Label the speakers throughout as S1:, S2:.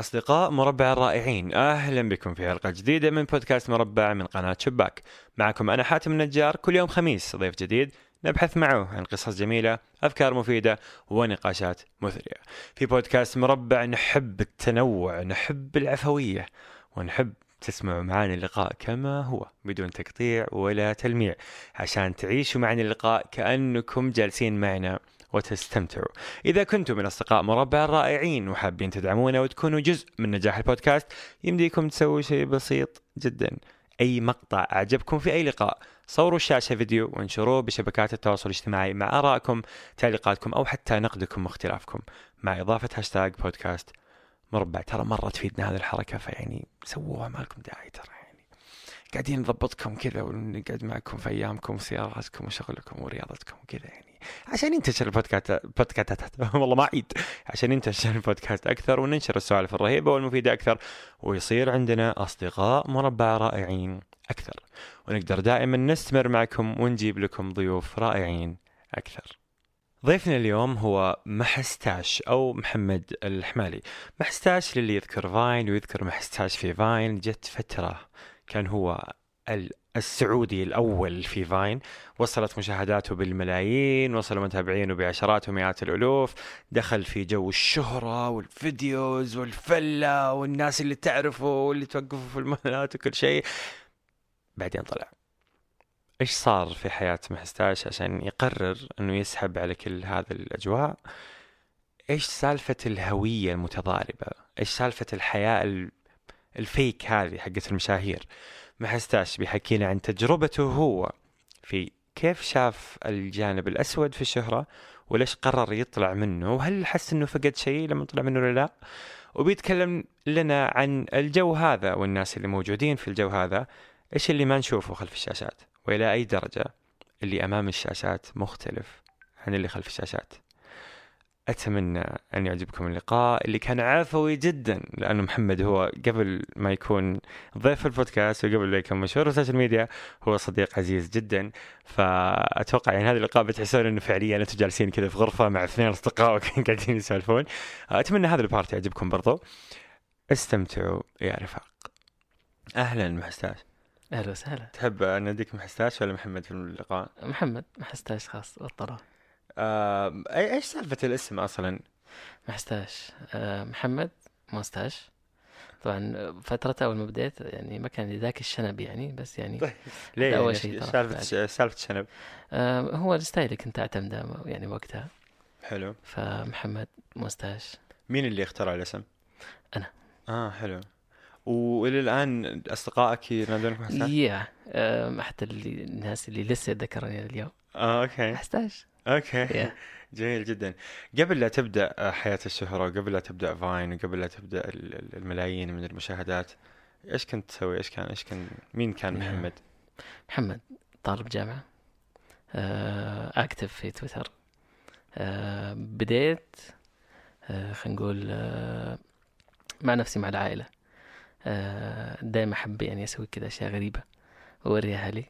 S1: أصدقاء مربع الرائعين أهلا بكم في حلقة جديدة من بودكاست مربع من قناة شباك معكم أنا حاتم النجار كل يوم خميس ضيف جديد نبحث معه عن قصص جميلة أفكار مفيدة ونقاشات مثرية في بودكاست مربع نحب التنوع نحب العفوية ونحب تسمعوا معاني اللقاء كما هو بدون تقطيع ولا تلميع عشان تعيشوا معنا اللقاء كأنكم جالسين معنا وتستمتعوا إذا كنتم من أصدقاء مربع الرائعين وحابين تدعمونا وتكونوا جزء من نجاح البودكاست يمديكم تسووا شيء بسيط جدا أي مقطع أعجبكم في أي لقاء صوروا الشاشة فيديو وانشروه بشبكات التواصل الاجتماعي مع آرائكم تعليقاتكم أو حتى نقدكم واختلافكم مع إضافة هاشتاج بودكاست مربع ترى مرة تفيدنا هذه الحركة فيعني سووها ما لكم داعي ترى يعني قاعدين نضبطكم كذا ونقعد معكم في أيامكم وسياراتكم وشغلكم ورياضتكم وكذا يعني عشان ينتشر البودكاست بودكاستات والله ما عيد عشان ينتشر البودكاست اكثر وننشر السوالف الرهيبه والمفيده اكثر ويصير عندنا اصدقاء مربع رائعين اكثر ونقدر دائما نستمر معكم ونجيب لكم ضيوف رائعين اكثر. ضيفنا اليوم هو محستاش او محمد الحمالي. محستاش للي يذكر فاين ويذكر محستاش في فاين جت فتره كان هو ال- السعودي الاول في فاين وصلت مشاهداته بالملايين وصل متابعينه بعشرات ومئات الالوف دخل في جو الشهره والفيديوز والفله والناس اللي تعرفه واللي توقفوا في المولات وكل شيء بعدين طلع ايش صار في حياة محستاش عشان يقرر انه يسحب على كل هذه الاجواء ايش سالفة الهوية المتضاربة ايش سالفة الحياة ال- الفيك هذه حقت المشاهير محستاش بيحكينا عن تجربته هو في كيف شاف الجانب الأسود في الشهرة وليش قرر يطلع منه وهل حس انه فقد شيء لما طلع منه ولا لا وبيتكلم لنا عن الجو هذا والناس اللي موجودين في الجو هذا ايش اللي ما نشوفه خلف الشاشات والى اي درجة اللي امام الشاشات مختلف عن اللي خلف الشاشات اتمنى ان يعجبكم اللقاء اللي كان عفوي جدا لانه محمد هو قبل ما يكون ضيف البودكاست وقبل ما يكون مشهور في السوشيال ميديا هو صديق عزيز جدا فاتوقع يعني هذا اللقاء بتحسون انه فعليا انتم جالسين كذا في غرفه مع اثنين اصدقاء وقاعدين يسولفون اتمنى هذا البارت يعجبكم برضو استمتعوا يا رفاق اهلا محستاش
S2: اهلا وسهلا
S1: تحب ناديك محستاش ولا محمد في اللقاء؟
S2: محمد ما حستاش خلاص بطلوا
S1: آه، أي- ايش سالفه الاسم اصلا؟
S2: ما حستاش آه، محمد موستاش طبعا فترة أول ما بديت يعني ما كان لي ذاك الشنب يعني بس يعني
S1: طيب. ليه؟
S2: لا، أول
S1: يعني
S2: شيء
S1: إيش
S2: طرف
S1: سالفه
S2: بعد.
S1: ش- سالفه شنب
S2: آه، هو الستايل اللي كنت أعتمده يعني وقتها
S1: حلو
S2: فمحمد موستاش
S1: مين اللي اخترع الاسم؟
S2: أنا.
S1: اه حلو والى الان اصدقائك ينادونك محستاش؟
S2: يا آه، حتى اللي الناس اللي لسه يتذكروني اليوم
S1: اه اوكي
S2: محستاش
S1: اوكي
S2: يا
S1: جميل جدا قبل لا تبدا آه، حياه الشهره وقبل لا تبدا فاين وقبل لا تبدا ال- ال- الملايين من المشاهدات ايش كنت تسوي؟ ايش كان ايش كان مين كان
S2: نعم.
S1: محمد؟
S2: محمد طالب جامعة آه، أكتف في تويتر آه، بديت آه، خلينا نقول آه، مع نفسي مع العائلة آه، دايما أحب يعني أسوي كذا أشياء غريبة وأوري أهلي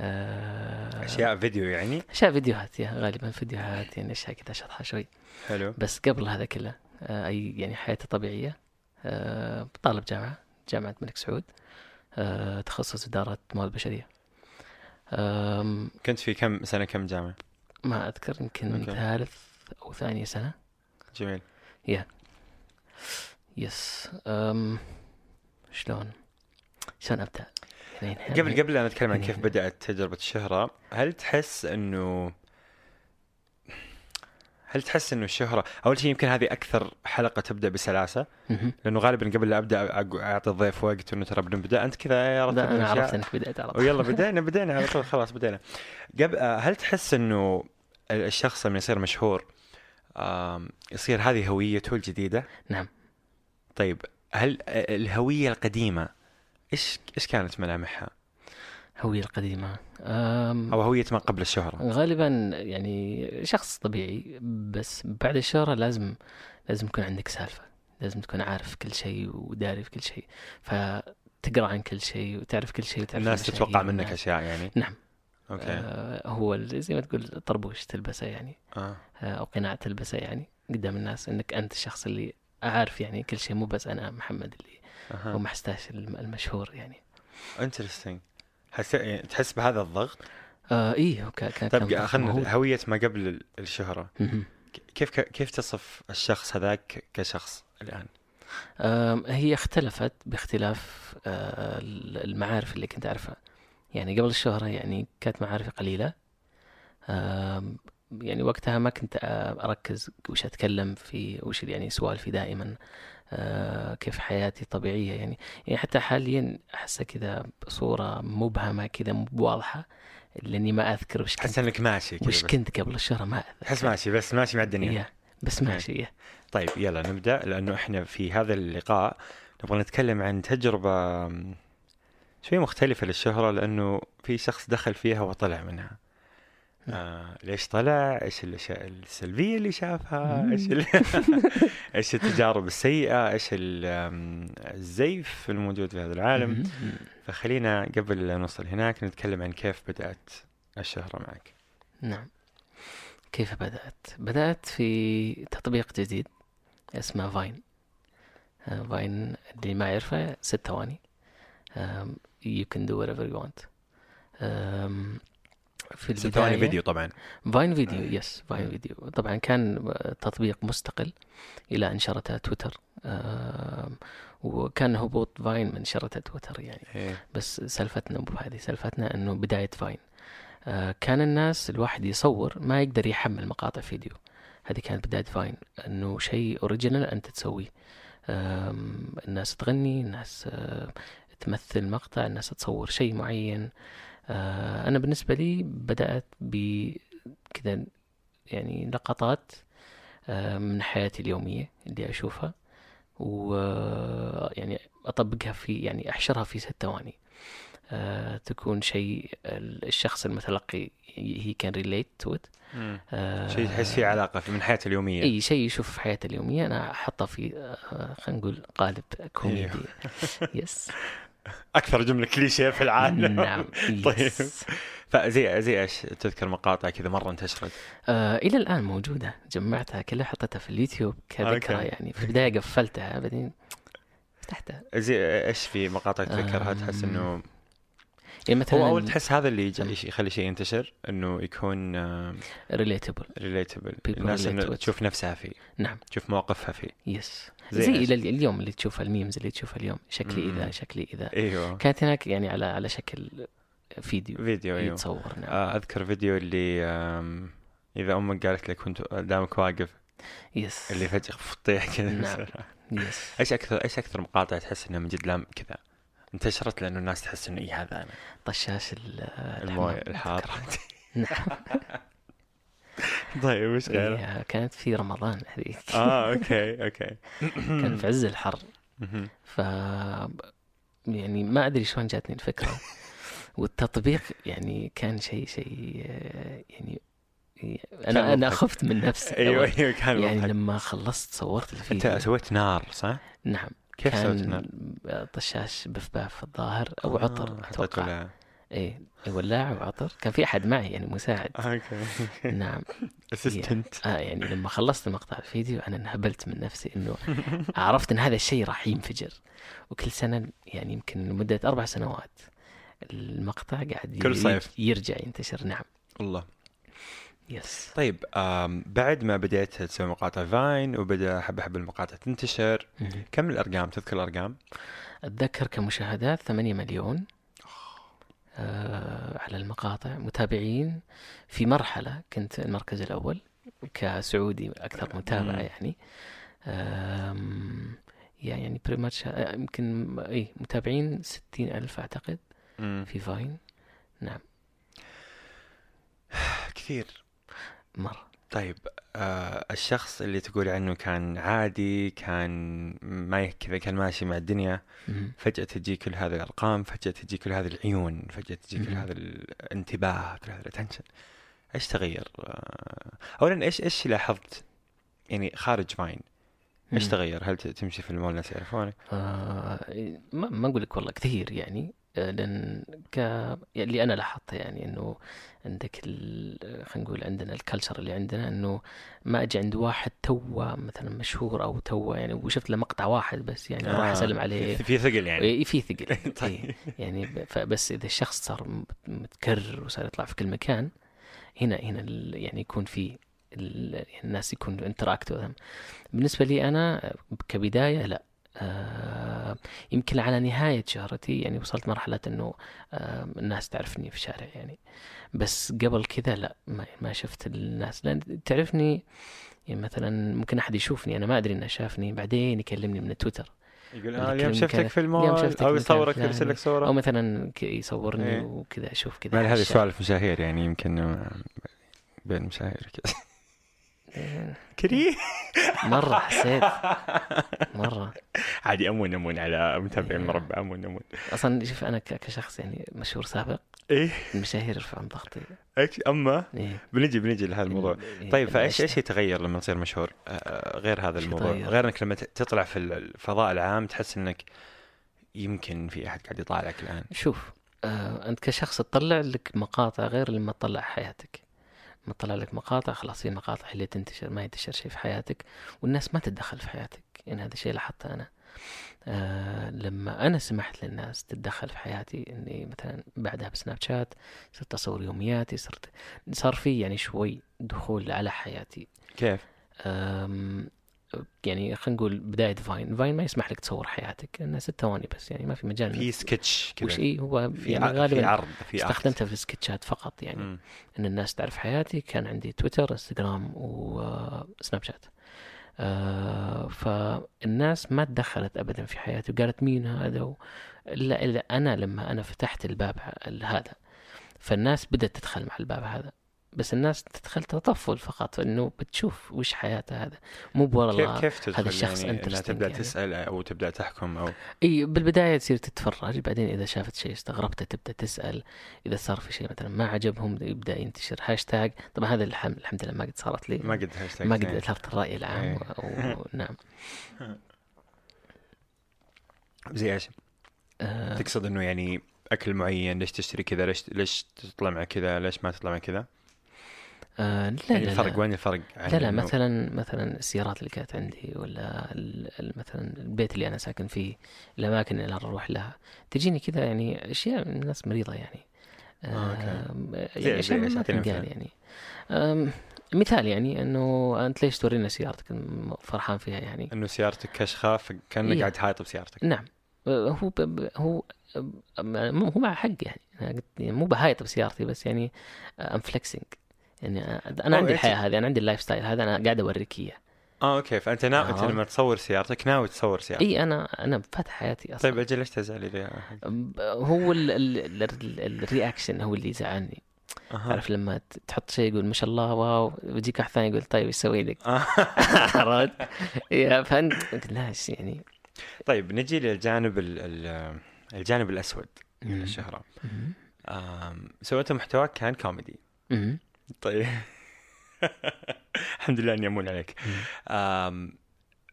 S2: آه،
S1: اشياء فيديو يعني؟
S2: أشياء فيديوهات يا غالبا فيديوهات يعني أشياء كذا شطحة شوي
S1: حلو
S2: بس قبل هذا كله آه، أي يعني حياتي طبيعية آه، طالب جامعة جامعة الملك سعود آه، تخصص إدارة موارد بشرية آم،
S1: كنت في كم سنه كم جامعه؟
S2: ما أذكر يمكن
S1: أوكي.
S2: ثالث أو ثانية سنة
S1: جميل
S2: يس أم، شلون شلون أبدأ يعني هنا-
S1: قبل قبل لا نتكلم عن
S2: يعني-
S1: كيف بدات تجربه الشهره هل تحس انه هل تحس انه الشهره اول شيء يمكن هذه اكثر حلقه تبدا بسلاسه
S2: مهم.
S1: لانه غالبا قبل لا ابدا أق- اعطي الضيف وقت انه ترى بنبدا انت كذا يا
S2: لا أنا عرفت
S1: رتب
S2: أنك بدأت على طول
S1: ويلا بدينا بدينا على طول خلاص بدينا قبل آه، هل تحس انه ال- الشخص لما يصير مشهور آم، يصير هذه هويته الجديدة؟
S2: نعم.
S1: طيب هل آه، الهوية القديمة ايش ايش كانت ملامحها؟
S2: هوية القديمة أم،
S1: او هوية ما قبل الشهرة؟
S2: غالبا يعني شخص طبيعي بس بعد الشهرة لازم لازم يكون عندك سالفة لازم تكون عارف كل شيء وداري في كل شيء فتقرا عن كل شيء وتعرف كل شيء وتعرف
S1: الناس
S2: المشاهير
S1: تتوقع منك
S2: والناس.
S1: اشياء يعني
S2: نعم.
S1: اوكي
S2: آه هو ال- زي ما تقول طربوش تلبسه يعني
S1: اه
S2: آه او قناع تلبسه يعني قدام الناس انك انت الشخص اللي اعرف يعني كل شيء مو بس انا محمد اللي هو
S1: اها
S2: محستاش الم- المشهور يعني
S1: انترستنج حس... يعني تحس بهذا الضغط
S2: آه ايه هو كان كان
S1: طيب
S2: كان مهول.
S1: خلينا هويه ما قبل ال- الشهره
S2: مهم.
S1: ك- كيف ك... كيف تصف الشخص هذاك كشخص الان
S2: آم، هي اختلفت باختلاف آه، ال- المعارف اللي كنت أعرفها يعني قبل الشهرة يعني كانت معارفي قليلة آم، يعني وقتها ما كنت آه، أركز وش أتكلم في وش يعني سؤال في دائما آه، كيف حياتي طبيعية يعني يعني حتى حاليا أحسها كذا بصورة مبهمة كذا مو واضحة لأني ما أذكر وش
S1: تحس
S2: كنت
S1: انك ماشي كذا
S2: وش
S1: بس. يعني
S2: كنت قبل الشهرة ما أذكر
S1: تحس ماشي بس ماشي مع الدنيا
S2: إيه، بس ماشي إيه.
S1: طيب يلا نبدا لانه احنا في هذا اللقاء نبغى نتكلم عن تجربه أم، شوي مختلفه للشهره لانه في شخص دخل فيها وطلع منها
S2: نعم.
S1: آه، ليش طلع؟ ايش الاشياء السلبيه اللي شافها؟
S2: مم.
S1: ايش ال... ايش التجارب السيئه؟ ايش ال... أم، الزيف الموجود في هذا العالم؟
S2: مهم.
S1: فخلينا قبل لا نوصل هناك نتكلم عن كيف بدات الشهره معك.
S2: نعم كيف بدأت؟ بدأت في تطبيق جديد اسمه فاين آه، فاين اللي ما يعرفه ست ثواني آم، you can do whatever you want آم، في
S1: ست ثواني
S2: البداية-
S1: فيديو آه، طبعا.
S2: فاين فيديو يس فاين فيديو طبعا كان تطبيق مستقل الى ان شرته تويتر آم، وكان هبوط فاين من شرته تويتر يعني
S1: إيه.
S2: بس سالفتنا مو بهذه سالفتنا انه بدايه فاين آه كان الناس الواحد يصور ما يقدر يحمل مقاطع فيديو هذه كانت بدايه فاين انه شيء اوريجينال انت تسويه آم، الناس تغني الناس آه، تمثل مقطع الناس تصور شيء معين آه، انا بالنسبه لي بدات ب كذا يعني لقطات آه، من حياتي اليوميه اللي اشوفها ويعني اطبقها يعني في يعني احشرها في ست ثواني آه، تكون شيء ال- الشخص المتلقي هي كان ريليت تو ات
S1: مم. شيء تحس فيه علاقه في- من حياته اليوميه.
S2: اي آه، شيء يشوف في حياته اليوميه انا احطه في آه، خلينا نقول قالب كوميدي
S1: أيوه.
S2: يس
S1: اكثر جمله كليشيه في العالم
S2: نعم
S1: طيب.
S2: يس
S1: فزي زي ايش تذكر مقاطع كذا مره انتشرت
S2: آه الى الان موجوده جمعتها كلها حطيتها في اليوتيوب كذكرى
S1: أوكي.
S2: يعني في البدايه قفلتها بعدين فتحتها
S1: زي ايش في مقاطع تذكرها تحس انه
S2: يعني مثلا
S1: هو اول تحس هذا اللي يج- يش- يخلي شيء ينتشر انه يكون
S2: ريليتبل
S1: ريليتبل
S2: People
S1: الناس
S2: relate to
S1: انه
S2: it.
S1: تشوف نفسها فيه
S2: نعم
S1: تشوف مواقفها فيه
S2: يس
S1: زي
S2: زي, زي
S1: إيش؟
S2: الى اليوم اللي تشوفها الميمز اللي تشوفها اليوم شكلي
S1: مم.
S2: اذا شكلي اذا
S1: ايوه
S2: كانت هناك يعني على على شكل فيديو
S1: فيديو ايوه
S2: يتصور نعم
S1: آه، اذكر فيديو اللي آم، اذا امك قالت لك كنت قدامك واقف
S2: يس
S1: اللي فجاه تطيح كذا
S2: نعم.
S1: بسرعة.
S2: يس
S1: ايش اكثر ايش اكثر مقاطع تحس انها من جد لام كذا انتشرت لانه الناس تحس انه اي هذا انا
S2: طشاش ال- الحمام.
S1: المويه الحار
S2: نعم
S1: طيب وش غيره؟
S2: إيه، كانت في رمضان هذيك
S1: اه اوكي اوكي
S2: كان في عز الحر
S1: مهم.
S2: ف يعني ما ادري شلون جاتني الفكره والتطبيق يعني كان شيء شيء آه، يعني انا انا
S1: مضحك.
S2: خفت من نفسي
S1: ايوه ايوه كان
S2: يعني
S1: يعني
S2: لما خلصت صورت
S1: انت
S2: الفيديو
S1: سويت نار صح؟
S2: نعم
S1: كيف سويت نار؟
S2: كان طشاش بفباف الظاهر او عطر
S1: آه، حطيت
S2: اتوقع
S1: ولا-
S2: اي ولاعه وعطر كان في احد معي يعني مساعد
S1: آه، اوكي
S2: نعم
S1: اسيستنت
S2: آه يعني لما خلصت المقطع الفيديو انا انهبلت من نفسي انه عرفت ان هذا الشيء راح ينفجر وكل سنه يعني يمكن لمده اربع سنوات المقطع قاعد ي-
S1: كل صيف.
S2: يرجع ينتشر نعم
S1: والله
S2: يس
S1: طيب آم، بعد ما بديت تسوي مقاطع فاين وبدا حبه حبه المقاطع تنتشر
S2: مهم.
S1: كم الارقام تذكر الارقام؟
S2: اتذكر كمشاهدات 8 مليون آه على المقاطع متابعين في مرحله كنت المركز الاول كسعودي اكثر متابعه
S1: مم.
S2: يعني آم، يعني بري ماتش يمكن اي متابعين 60 الف اعتقد
S1: مم.
S2: في فاين
S1: كثير
S2: مره
S1: طيب آه، الشخص اللي تقول عنه كان عادي كان ما يه- كذا كان ماشي مع الدنيا
S2: مهم.
S1: فجأة تجي كل هذه الأرقام فجأة تجي كل هذه العيون فجأة تجي كل
S2: مهم.
S1: هذا الانتباه كل هذا الاتنشن ايش تغير؟ آه، أولا ايش ايش لاحظت؟ يعني خارج فاين ايش
S2: مم.
S1: تغير؟ هل ت- تمشي في المول الناس يعرفونك؟
S2: آه ما ما اقول لك والله كثير يعني آه، لان ك يعني اللي انا لاحظته يعني انه عندك ال... آه، خلينا نقول عندنا الكلتشر اللي عندنا انه ما اجي عند واحد توه مثلا مشهور او توه يعني وشفت له مقطع واحد بس يعني راح
S1: آه،
S2: اسلم عليه
S1: في- في ثقل يعني
S2: يعني في ثقل
S1: طيب.
S2: إيه. يعني ب- فبس اذا الشخص صار مت- متكرر وصار يطلع في كل مكان هنا هنا ال- يعني يكون في ال- الناس يكون انتراكت بالنسبه لي انا كبدايه لا آه، يمكن على نهاية شهرتي يعني وصلت مرحلة أنه آه، الناس تعرفني في الشارع يعني بس قبل كذا لا ما, ما شفت الناس لأن تعرفني يعني مثلا ممكن أحد يشوفني أنا ما أدري أنه شافني بعدين يكلمني من تويتر
S1: يقول
S2: لكن
S1: آه اليوم
S2: يمكن-
S1: شفتك في
S2: اليوم
S1: المول
S2: شفتك
S1: او
S2: مثلاً
S1: يصورك
S2: فلان.
S1: يرسل لك
S2: او
S1: صوره
S2: مثلا ك- يصورني
S1: إيه.
S2: وكذا اشوف كذا
S1: ما
S2: على
S1: هذه
S2: الشارع.
S1: سوالف مشاهير يعني يمكن آه، بين مشاهير
S2: إيه،
S1: كريه
S2: مره حسيت مره
S1: عادي امون امون على متابعين
S2: إيه.
S1: المربع امون امون
S2: اصلا شوف انا ك- كشخص يعني مشهور سابق
S1: ايه
S2: المشاهير يرفعون ضغطي
S1: إيش- اما
S2: إيه.
S1: بنجي بنجي لهذا الموضوع
S2: إيه،
S1: طيب فايش
S2: عشت.
S1: ايش يتغير لما تصير مشهور آه، آه، غير هذا
S2: إيش
S1: الموضوع
S2: يتغير؟
S1: غير انك لما ت- تطلع في الفضاء العام تحس انك يمكن في احد قاعد يطالعك الان
S2: شوف آه، انت كشخص تطلع لك مقاطع غير لما تطلع حياتك لما تطلع لك مقاطع خلاص في مقاطع هي اللي تنتشر ما ينتشر شيء في حياتك والناس ما تتدخل في حياتك يعني هذا الشيء لاحظته انا آه لما انا سمحت للناس تتدخل في حياتي اني مثلا بعدها بسناب شات صرت اصور يومياتي صرت صار في يعني شوي دخول على حياتي
S1: كيف؟
S2: أم، يعني خلينا نقول بدايه فاين فاين ما يسمح لك تصور حياتك لانها ست ثواني بس يعني ما في مجال إنك
S1: في سكتش كذا
S2: وش اي هو
S1: في
S2: يعني
S1: ع- في
S2: غالبا
S1: عرض في عرض
S2: استخدمته في السكتشات فقط يعني
S1: مم.
S2: ان الناس تعرف حياتي كان عندي تويتر انستغرام وسناب شات آه، فالناس ما تدخلت ابدا في حياتي وقالت مين هذا و- الا الا انا لما انا فتحت الباب ه- هذا فالناس بدات تدخل مع الباب هذا بس الناس تدخل تطفل فقط انه بتشوف وش حياته هذا مو
S1: كيف
S2: والله
S1: كيف تدخل
S2: هذا الشخص
S1: يعني إنها
S2: interesting
S1: تبدا
S2: يعني.
S1: تسال او تبدا تحكم او
S2: اي بالبدايه تصير تتفرج بعدين اذا شافت شيء استغربته تبدا تسال اذا صار في شيء مثلا ما عجبهم يبدا ينتشر هاشتاج طبعا هذا الحم... الحمد لله ما قد صارت لي
S1: ما قد هاشتاج
S2: ما قد
S1: ثاني.
S2: اثرت الراي العام
S1: إيه.
S2: و... نعم
S1: زي ايش؟
S2: آه
S1: تقصد انه يعني اكل معين ليش تشتري كذا ليش ليش تطلع مع كذا ليش ما تطلع مع كذا؟
S2: آه لا
S1: يعني
S2: لا لا.
S1: الفرق وين الفرق؟ عن
S2: لا لا
S1: إنه-
S2: مثلا مثلا السيارات اللي كانت عندي ولا ال- ال- مثلا البيت اللي انا ساكن فيه الاماكن اللي انا اروح لها تجيني كذا يعني اشياء من ناس مريضه يعني
S1: آه، أوكي.
S2: آم،
S1: زي-
S2: يعني اشياء
S1: زي إيش؟
S2: ما
S1: أعطيني
S2: تنقال
S1: مثال.
S2: يعني آم، مثال يعني انه انت ليش تورينا سيارتك الم- فرحان فيها يعني
S1: انه سيارتك كشخه فكانك
S2: إيه.
S1: قاعد حايط بسيارتك
S2: نعم آه، هو ب- ب- هو آه، م- هو مع حق يعني أنا قلت يعني مو بهايط بسيارتي بس يعني ام فليكسنج يعني آه، انا
S1: أو
S2: عندي
S1: إيه.
S2: الحياه هذه انا عندي اللايف ستايل هذا انا قاعد اوريك اياه
S1: اه اوكي فانت ناوي انت
S2: آه. إيه،
S1: لما تصور سيارتك ناوي تصور سيارتك
S2: اي انا انا فاتح حياتي اصلا
S1: يعني. طيب اجل ليش تزعل اذا
S2: ب- هو ال- ال- ال- الرياكشن هو اللي زعلني
S1: أها.
S2: عارف لما ت- تحط شيء يقول ما شاء الله واو ويجيك واحد ثاني يقول طيب ايش اسوي لك
S1: آه.
S2: عرفت يا فانت قلت لا إيش يعني
S1: طيب نجي للجانب ال- ال- الجانب الاسود من
S2: مم.
S1: الشهره
S2: مم.
S1: آم، سويته محتواك كان كوميدي
S2: مم.
S1: طيب الحمد لله اني امون عليك آم،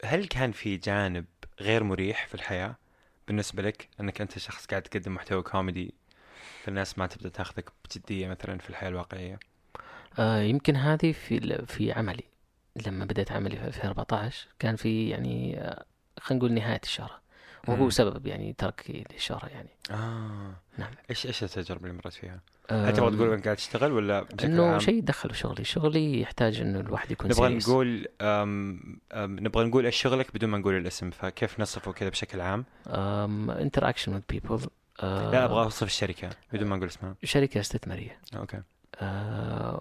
S1: هل كان في جانب غير مريح في الحياه بالنسبه لك انك انت شخص قاعد تقدم محتوى كوميدي فالناس ما تبدا تاخذك بجديه مثلا في الحياه الواقعيه
S2: آه يمكن هذه في ال- في عملي لما بدأت عملي في 2014 كان في يعني آه، خلينا نقول نهاية الشهرة وهو
S1: مم.
S2: سبب يعني تركي للشهرة يعني
S1: اه
S2: نعم.
S1: ايش ايش التجربه اللي مرت فيها؟ هل تبغى
S2: آم،
S1: تقول انك قاعد تشتغل ولا بشكل
S2: انه
S1: عام؟
S2: آه. شيء دخل شغلي شغلي يحتاج انه الواحد يكون
S1: نبغى
S2: serious.
S1: نقول أم أم نبغى نقول ايش شغلك بدون ما نقول الاسم فكيف نصفه كذا بشكل عام؟
S2: Um, انتراكشن وذ بيبل آه.
S1: لا ابغى اوصف الشركه بدون ما نقول اسمها.
S2: شركه استثماريه
S1: اوكي.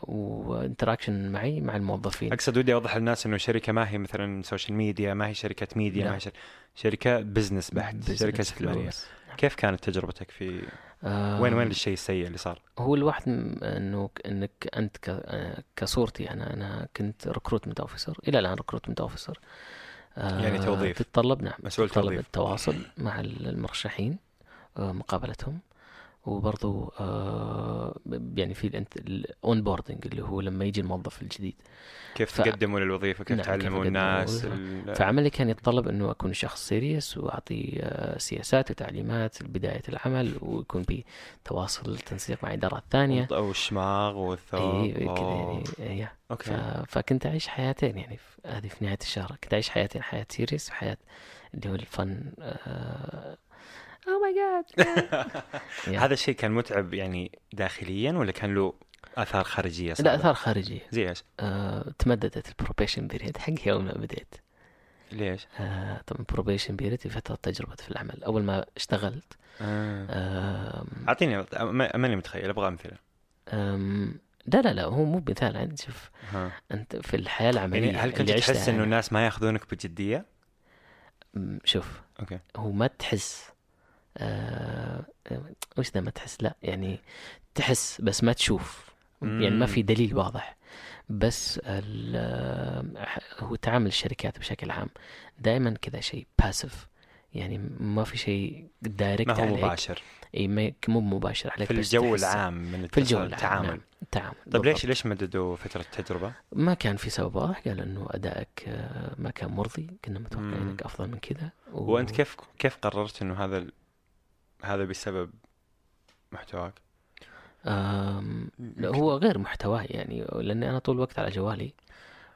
S2: وانتراكشن Uh, معي مع الموظفين
S1: اقصد ودي اوضح للناس انه شركه ما هي مثلا سوشيال ميديا، ما هي شركه ميديا،
S2: لا.
S1: ما هي شر... شركه بزنس بحت،
S2: بزنس
S1: شركه استثماريه.
S2: فلوس.
S1: كيف كانت تجربتك في
S2: آم،
S1: وين وين الشيء السيء اللي صار؟
S2: Um, هو الواحد م- انه ك- انك انت ك- آه، كصورتي انا انا كنت ريكروتمنت اوفيسر الى الان ريكروتمنت اوفيسر
S1: يعني توظيف.
S2: Uh, تتطلب نعم
S1: مسؤول
S2: تتطلب
S1: توظيف.
S2: التواصل مع المرشحين آه، مقابلتهم وبرضو آه، ب- يعني في الاون بوردنج اللي هو لما يجي الموظف الجديد
S1: كيف
S2: ف-
S1: تقدموا للوظيفه كيف
S2: نعم، كيف
S1: تعلموا
S2: أقدموا
S1: الناس
S2: للوظيفة.
S1: ال-
S2: فعملي كان يتطلب انه اكون شخص سيريس واعطي آه، سياسات وتعليمات لبدايه العمل ويكون بتواصل تنسيق مع الادارات الثانيه
S1: والشماغ والثوب
S2: اي كذا
S1: أوه.
S2: يعني إيه. ف...
S1: اوكي
S2: فكنت أعيش حياتين يعني في- هذه في نهاية الشهر كنت أعيش حياتين حياة سيريس وحياة اللي هو الفن آه، oh أو ماي جاد
S1: هذا الشيء كان متعب يعني داخليا ولا كان له اثار خارجيه صعبة؟
S2: لا آثار خارجية
S1: زي ايش؟
S2: آه، تمددت البروبيشن بيريد حقي أول ما بديت
S1: ليش؟
S2: آه، طبعا بروبيشن بيريد هي فترة تجربة في العمل أول ما اشتغلت
S1: آه.
S2: آم،
S1: اعطيني أ- ما- ماني متخيل ابغى امثله
S2: آم، لا لا لا هو مو مثال عاد شوف
S1: ها.
S2: أنت في الحياة العملية
S1: يعني هل كنت
S2: آه. اللي
S1: تحس
S2: عشتها
S1: انه
S2: أنا-
S1: الناس ما ياخذونك بجديه؟
S2: مم، شوف
S1: أوكي.
S2: هو ما تحس آه وش ذا ما تحس لا يعني تحس بس ما تشوف يعني
S1: مم.
S2: ما في دليل واضح بس ال- آه، ح- هو تعامل الشركات بشكل عام دائما كذا شيء باسف يعني ما في شيء دايركت
S1: ما هو
S2: عليك
S1: مباشر
S2: اي ما يك- مو مباشر عليك
S1: في
S2: بس
S1: الجو
S2: تحسه.
S1: العام من
S2: في الجو العام
S1: التعامل
S2: نعم. تعامل
S1: طيب
S2: بالضبط.
S1: ليش ليش مددوا فتره التجربه؟
S2: ما كان في سبب واضح قال انه ادائك آه، ما كان مرضي كنا
S1: مم.
S2: متوقعينك افضل من كذا و...
S1: وانت كيف كيف قررت انه هذا ال... هذا بسبب محتواك؟
S2: آم، لا هو غير محتواه يعني لاني انا طول الوقت على جوالي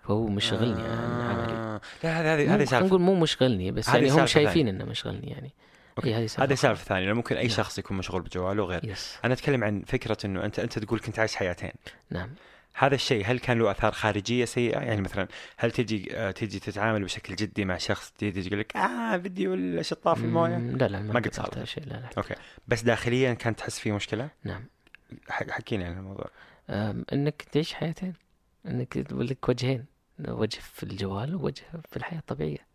S2: فهو مشغلني عن يعني عملي
S1: آه. لا هذه هذه هذه
S2: مو- خلينا
S1: سالفه
S2: نقول مو مشغلني بس
S1: هذه
S2: يعني هم
S1: سالفة
S2: شايفين انه مشغلني يعني
S1: أوكي.
S2: إيه هذه
S1: هذه
S2: سالفة
S1: سالفه ثانيه لأن ممكن اي
S2: نعم.
S1: شخص يكون مشغول بجواله وغيره
S2: يس
S1: انا اتكلم عن فكره انه انت انت تقول كنت عايش حياتين
S2: نعم
S1: هذا الشيء هل كان له اثار خارجيه سيئه يعني مثلا هل تجي آه، تجي تتعامل بشكل جدي مع شخص تجي يقول لك اه بدي الشطار في المويه
S2: مم، لا لا ما,
S1: ما قد
S2: قد صارت
S1: صارت.
S2: هذا الشيء لا لا
S1: اوكي بس داخليا كانت تحس في مشكله
S2: نعم
S1: ح- حكينا عن الموضوع
S2: آم، انك تعيش حياتين انك لك وجهين وجه في الجوال ووجه في الحياة الطبيعية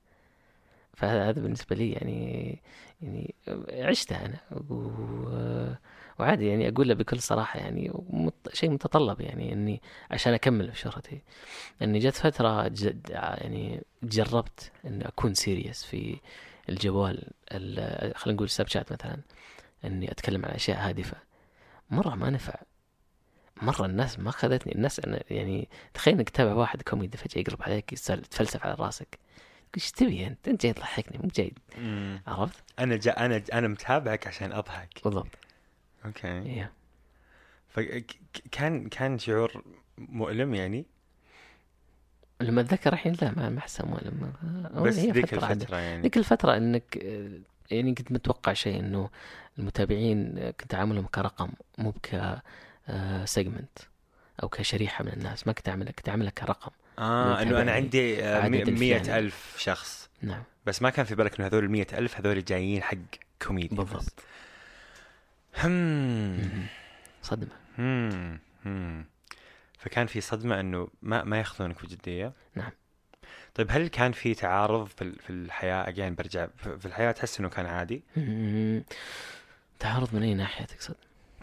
S2: فهذا هذا بالنسبة لي يعني يعني عشتها أنا و... وعادي يعني أقولها بكل صراحة يعني مت... شيء متطلب يعني إني عشان أكمل في شهرتي إني جت فترة جد... يعني جربت إني أكون سيريس في الجوال ال... خلينا نقول سناب شات مثلا إني أتكلم عن أشياء هادفة مرة ما نفع مرة الناس ما أخذتني الناس أنا يعني تخيل إنك تتابع واحد كوميدي فجأة يقلب عليك يسأل تفلسف على راسك تقول ايش تبي انت؟ انت جاي تضحكني مو جاي عرفت؟
S1: انا جا انا انا متابعك عشان اضحك
S2: بالضبط
S1: اوكي
S2: إيه.
S1: فكان كان شعور مؤلم يعني
S2: لما اتذكر الحين لا ما ما احسن ولا ما
S1: بس
S2: هي
S1: ذيك
S2: إيه، فترة عادة.
S1: الفتره يعني
S2: ذيك الفترة انك آه، يعني كنت متوقع شيء انه المتابعين آه، كنت اعاملهم كرقم مو ك سيجمنت او كشريحة من الناس ما كنت اعملها كنت اعملها كرقم
S1: اه انه انا
S2: متابعني.
S1: عندي آه،
S2: عدد
S1: مي-
S2: الفئة.
S1: مية ألف شخص
S2: نعم
S1: بس ما كان في بالك انه هذول المية ألف هذول جايين حق كوميديا
S2: بالضبط
S1: هم
S2: مهم. صدمة
S1: هم هم فكان في صدمه انه ما ما ياخذونك بجديه
S2: نعم.
S1: طيب هل كان في تعارض في ال- في الحياه اجين برجع في في الحياه تحس انه كان عادي
S2: مهم. تعارض من اي ناحية تقصد؟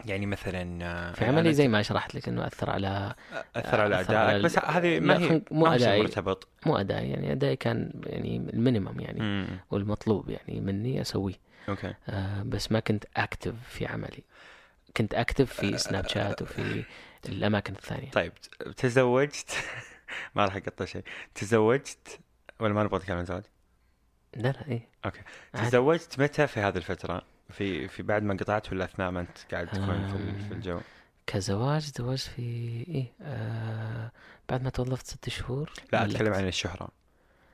S1: يعني مثلا آه،
S2: في
S1: أنا
S2: عملي زي ما شرحت لك انه اثر على
S1: اثر على
S2: أثر على
S1: ادائك
S2: ال-
S1: بس هذه
S2: لا،
S1: إيه، ما هي
S2: خلينا- مو
S1: ما هو شيء
S2: أدائي.
S1: مرتبط
S2: مو ادائي يعني ادائي كان يعني المينيمم يعني
S1: مم.
S2: والمطلوب يعني مني اسويه
S1: اوكي
S2: آه بس ما كنت اكتف في عملي كنت اكتف في سناب شات وفي الاماكن الثانيه
S1: آه، طيب ت- تزوجت ما راح اقطع شيء تزوجت ولا ما نبغى نتكلم عن الزواج
S2: لا لا ايه
S1: أوكي.
S2: عادي.
S1: تزوجت متى في هذه الفتره في في بعد ما قطعت ولا اثناء ما انت قاعد تكون في ال-
S2: آه.
S1: في الجو
S2: كزواج تزوجت في ايه آه بعد ما توظفت ست شهور
S1: لا
S2: ملكت.
S1: اتكلم عن الشهره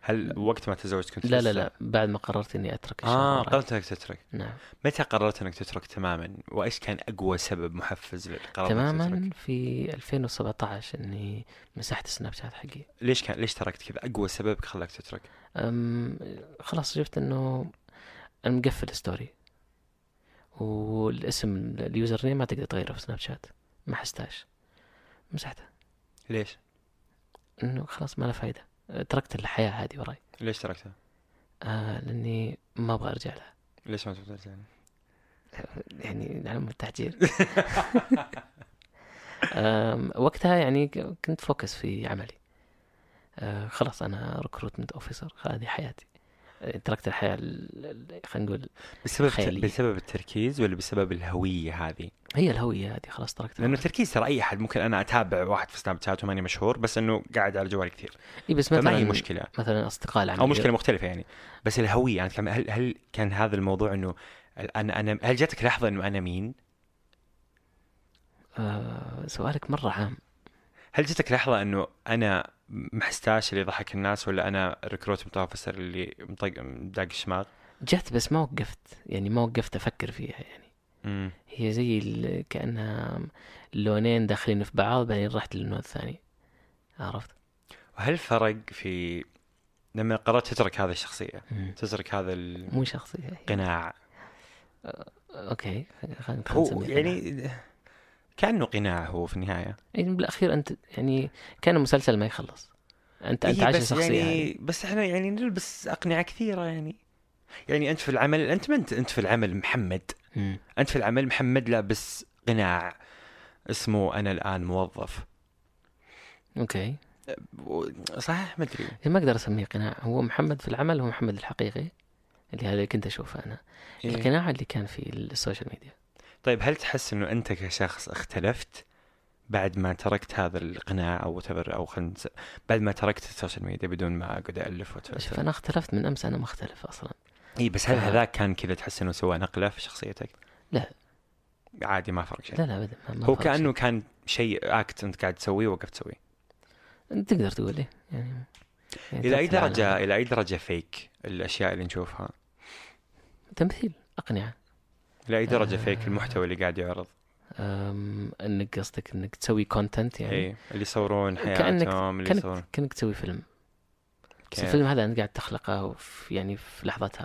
S1: هل وقت ما تزوجت كنت
S2: لا
S1: لسه-
S2: لا لا بعد ما قررت اني اترك
S1: اه
S2: الشغل
S1: قررت انك تترك
S2: نعم
S1: متى قررت انك تترك تماما وايش كان اقوى سبب محفز للقرار إنك تترك؟
S2: تماما في 2017 اني مسحت السناب شات حقي
S1: ليش كان ليش تركت كذا اقوى سبب خلاك تترك
S2: أم خلاص شفت انه انا مقفل ستوري والاسم اليوزر نيم ما تقدر تغيره في سناب شات ما حستاش مسحته
S1: ليش
S2: انه خلاص ما له فايده تركت الحياه هذه وراي
S1: ليش تركته
S2: آه لاني ما ابغى ارجع لها
S1: ليش ما تبغى ترجع
S2: يعني نعم التحجير أم، وقتها يعني ك- كنت آه، فوكس في عملي أه، خلاص انا ريكروتمنت اوفيسر هذه حياتي تركت الحياه ال- ال- خلينا نقول
S1: بسبب
S2: خيالية.
S1: بسبب التركيز ولا بسبب الهويه هذه؟
S2: هي الهويه هذه خلاص تركتها
S1: لانه التركيز ترى اي احد ممكن انا اتابع واحد في سناب شات وماني مشهور بس انه قاعد على جوالي كثير
S2: اي إيه، بس مثلا
S1: فما هي مشكله
S2: مثلا اصدقاء العمل
S1: او مشكله مختلفه يعني بس الهويه انا أتكلم هل هل كان هذا الموضوع انه ال- انا انا هل جاتك لحظه انه انا مين؟
S2: آه سؤالك مره عام
S1: هل جاتك لحظه انه انا محستاش اللي يضحك الناس ولا انا ريكروت متوفسر اللي مطق مداق الشماغ؟
S2: جت بس ما وقفت يعني ما وقفت افكر فيها يعني
S1: امم
S2: هي زي ال- كانها لونين داخلين في بعض بعدين رحت للون الثاني عرفت
S1: وهل فرق في لما قررت تترك هذه الشخصيه
S2: مم.
S1: تترك هذا القناع
S2: مو شخصيه هي. اوكي خلينا
S1: هو يعني كانه قناع هو في النهايه
S2: يعني بالاخير انت يعني كان المسلسل ما يخلص انت انت
S1: إيه
S2: عايش
S1: بس
S2: شخصيه
S1: يعني
S2: يعني...
S1: بس احنا يعني نلبس اقنعه كثيره يعني يعني انت في العمل انت ما انت انت في العمل محمد
S2: مم.
S1: انت في العمل محمد لابس قناع اسمه انا الان موظف
S2: اوكي
S1: و- صح ما ادري
S2: إيه، ما اقدر اسميه قناع هو محمد في العمل هو محمد الحقيقي اللي هذا كنت اشوفه انا
S1: إيه.
S2: القناع اللي كان في السوشيال ميديا
S1: طيب هل تحس انه انت كشخص اختلفت بعد ما تركت هذا القناع او whatever او خلينا نس- بعد ما تركت السوشيال ميديا بدون ما اقعد الف
S2: شوف
S1: وتفكر
S2: انا اختلفت من امس انا ما اختلف اصلا
S1: اي إيه، بس هل
S2: آه.
S1: هذاك كان كذا تحس انه سوى نقله في شخصيتك؟
S2: لا.
S1: عادي ما فرق شيء
S2: لا لا ابدا ما- ما
S1: هو
S2: فرق شيء.
S1: كانه كان شيء اكت انت قاعد تسويه وقفت تسويه
S2: انت تقدر تقول لي يعني يعني
S1: الى اي
S2: تمثل على-
S1: درجه الى اي درجه فيك الاشياء اللي نشوفها
S2: تمثيل اقنعه
S1: الى اي درجه
S2: آه.
S1: فيك المحتوى اللي قاعد يعرض
S2: أم، انك قصدك انك تسوي كونتنت يعني
S1: اي اللي يصورون
S2: كأنك-
S1: حياتهم إيه، اللي يصورون
S2: كانك كانك تسوي فيلم بس
S1: كيف؟
S2: الفيلم هذا انت قاعد تخلقه وفي يعني في لحظتها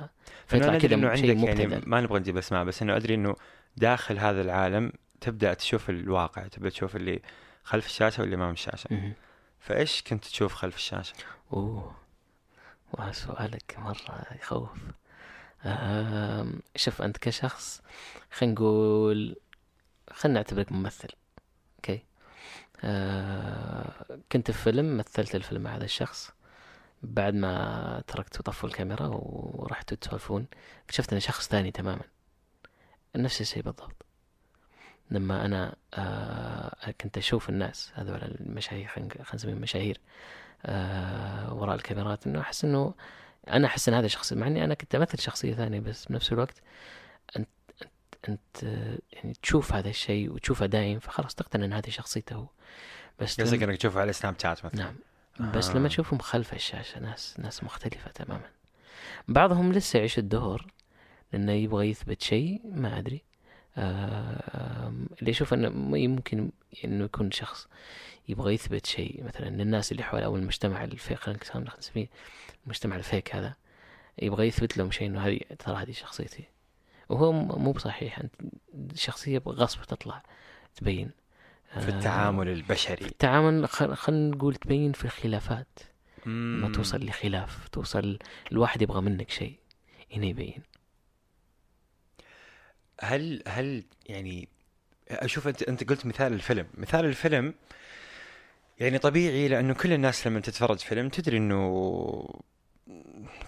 S1: لأنه
S2: فيطلع
S1: أنا أدري
S2: كذا
S1: انه
S2: شيء
S1: عندك يعني
S2: مبتذل.
S1: ما نبغى نجيب اسماء بس انه ادري انه داخل هذا العالم تبدا تشوف الواقع تبدا تشوف اللي خلف الشاشه واللي امام الشاشه
S2: مهم.
S1: فايش كنت تشوف خلف الشاشه
S2: اوه واه، سؤالك مرة يخوف أم، شوف أنت كشخص خلينا نقول خلينا نعتبرك ممثل أوكي أه، كنت في فيلم مثلت الفيلم مع هذا الشخص بعد ما تركت وطفوا الكاميرا ورحتوا تسولفون اكتشفت أنا شخص ثاني تماما نفس الشيء بالضبط لما أنا أه، كنت أشوف الناس هذول المشاهير خلينا نسميهم مشاهير آه، وراء الكاميرات انه احس انه انا احس ان هذا شخص مع اني انا كنت امثل شخصيه ثانيه بس بنفس الوقت انت انت انت آه، يعني تشوف هذا الشيء وتشوفه دايم فخلاص تقتنع ان هذه شخصيته هو بس لما-
S1: قصدك انك تشوفه على آه. سناب شات مثلا
S2: نعم بس لما تشوفهم خلف الشاشه ناس ناس مختلفه تماما بعضهم لسه يعيش الدور لانه يبغى يثبت شيء ما ادري آه، آم، اللي يشوف انه م- ممكن انه يكون شخص يبغى يثبت شيء مثلا للناس اللي حوله او المجتمع الفيك خلينا نسميه- نسميه المجتمع الفيك هذا يبغى يثبت لهم شيء انه هذه ترى هذه شخصيتي وهو م- مو بصحيح انت شخصيه غصب تطلع تبين
S1: في
S2: آه،
S1: التعامل
S2: في
S1: البشري
S2: التعامل خل- خلينا نقول تبين في الخلافات ما
S1: مم.
S2: توصل لخلاف توصل الواحد يبغى منك شيء هنا يبين
S1: هل هل يعني اشوف انت انت قلت مثال الفيلم، مثال الفيلم يعني طبيعي لانه كل الناس لما تتفرج فيلم تدري انه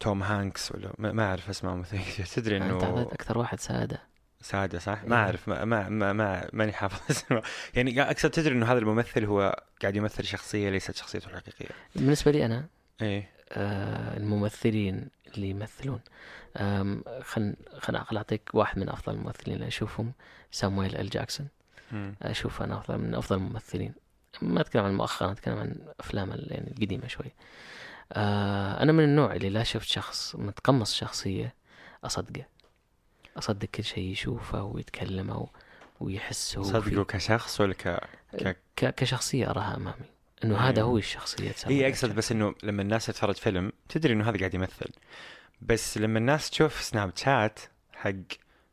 S1: توم هانكس ولا ما ما اعرف اسمه مثل تدري
S2: انت
S1: انه
S2: اعطيت اكثر واحد سعاده
S1: ساده صح؟
S2: إيه.
S1: ما اعرف ما ما ما ما- ماني حافظ اسمه، يعني اقصد تدري انه هذا الممثل هو قاعد يمثل شخصيه ليست شخصيته الحقيقيه.
S2: بالنسبه لي انا
S1: ايه
S2: آه، الممثلين اللي يمثلون آم، خل خل خل اعطيك واحد من افضل الممثلين اللي اشوفهم سامويل ال جاكسون
S1: مم.
S2: اشوف انا افضل من افضل الممثلين ما اتكلم عن مؤخرا اتكلم عن افلام ال- يعني القديمه شوي آه، انا من النوع اللي لا شفت شخص متقمص شخصيه اصدقه اصدق كل شيء يشوفه ويتكلم او ويحسه
S1: صدقه كشخص ولا ك ك
S2: ك... كشخصيه اراها امامي انه هذا
S1: أيوة.
S2: هو الشخصيه
S1: اي اقصد بس انه لما الناس تتفرج فيلم تدري انه هذا قاعد يمثل بس لما الناس تشوف سناب شات حق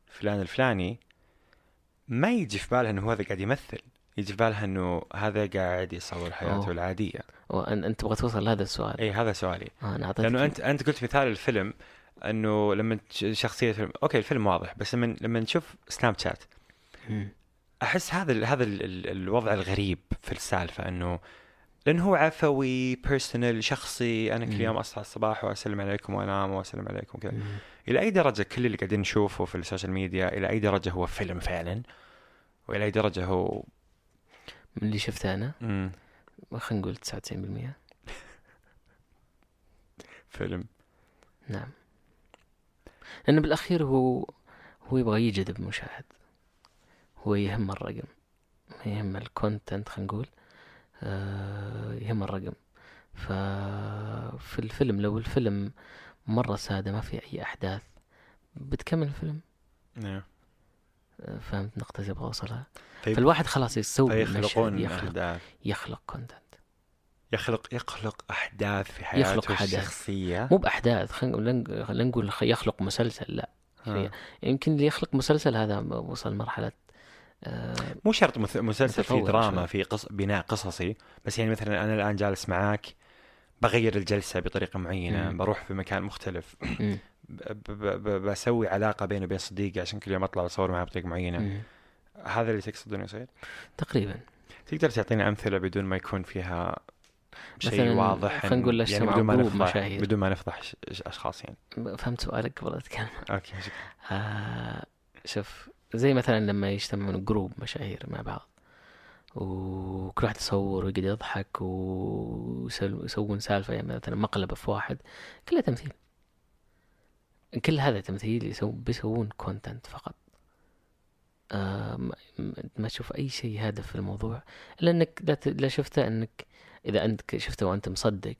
S1: فلان الفلاني ما يجي في بالها انه هو هذا قاعد يمثل يجي في بالها انه هذا قاعد يصور حياته
S2: أوه.
S1: العاديه
S2: وأن... انت تبغى توصل لهذا السؤال
S1: اي هذا سؤالي
S2: آه، انا اعطيتك
S1: لانه انت انت قلت مثال الفيلم انه لما تش- شخصيه الفيلم اوكي الفيلم واضح بس لما لما نشوف سناب شات
S2: مم.
S1: احس هذا ال هذا ال ال الوضع الغريب في السالفه انه لانه هو عفوي بيرسونال شخصي انا
S2: مم.
S1: كل يوم اصحى الصباح واسلم عليكم وانام واسلم عليكم كذا الى اي درجه كل اللي قاعدين نشوفه في السوشيال ميديا الى اي درجه هو فيلم فعلا والى اي درجه هو
S2: من اللي شفته انا
S1: مم،
S2: خلينا نقول 99%
S1: فيلم
S2: نعم لانه بالاخير هو هو يبغى يجذب مشاهد هو يهم الرقم يهم الكونتنت خلينا نقول آه، يهم الرقم ففي الفيلم لو الفيلم مرة سادة ما في أي أحداث بتكمل الفيلم
S1: نعم.
S2: آه، فهمت نقطة اللي أبغى أوصلها
S1: طيب-
S2: فالواحد خلاص يسوي مشهد
S1: فيخلقون
S2: يخلق
S1: احداث
S2: يخلق كونتنت
S1: يخلق يخلق احداث في حياته
S2: يخلق حدث.
S1: الشخصيه
S2: مو بأحداث خلينا نقول- خلينا نقول خ- يخلق مسلسل لا
S1: ها.
S2: يمكن اللي يخلق مسلسل هذا وصل مرحلة آه،
S1: مو شرط مث- مسلسل فيه
S2: متطور
S1: دراما
S2: شوي.
S1: في قص... بناء قصصي بس يعني مثلا انا الان جالس معاك بغير الجلسه بطريقه معينه
S2: مم.
S1: بروح في مكان مختلف
S2: مم،
S1: ب... ب... ب... بسوي علاقه بيني وبين صديقي عشان كل يوم اطلع اصور معاه بطريقه معينه
S2: مم.
S1: هذا اللي تقصد انه يصير
S2: تقريبا
S1: تقدر تعطينا امثله بدون ما يكون فيها شيء
S2: مثلاً
S1: واضح
S2: خلينا نقول
S1: يعني
S2: اجتماع
S1: بدون ما
S2: جروب
S1: نفضح
S2: مشاهير.
S1: بدون ما نفضح ش... ش- اشخاص يعني
S2: فهمت سؤالك قبل اتكلم
S1: اوكي شكرا
S2: آه، شوف زي مثلا لما يجتمعون جروب مشاهير مع بعض وكل واحد يصور ويقعد يضحك ويسل- ويسوون سالفة يعني مثلا مقلبة في واحد كلها تمثيل كل هذا تمثيل يسو بيسوون كونتنت فقط آه، ما- ما- ما تشوف أي شيء هادف في الموضوع إلا إنك لا ت- لا شفته إنك إذا أنت شفته وأنت مصدق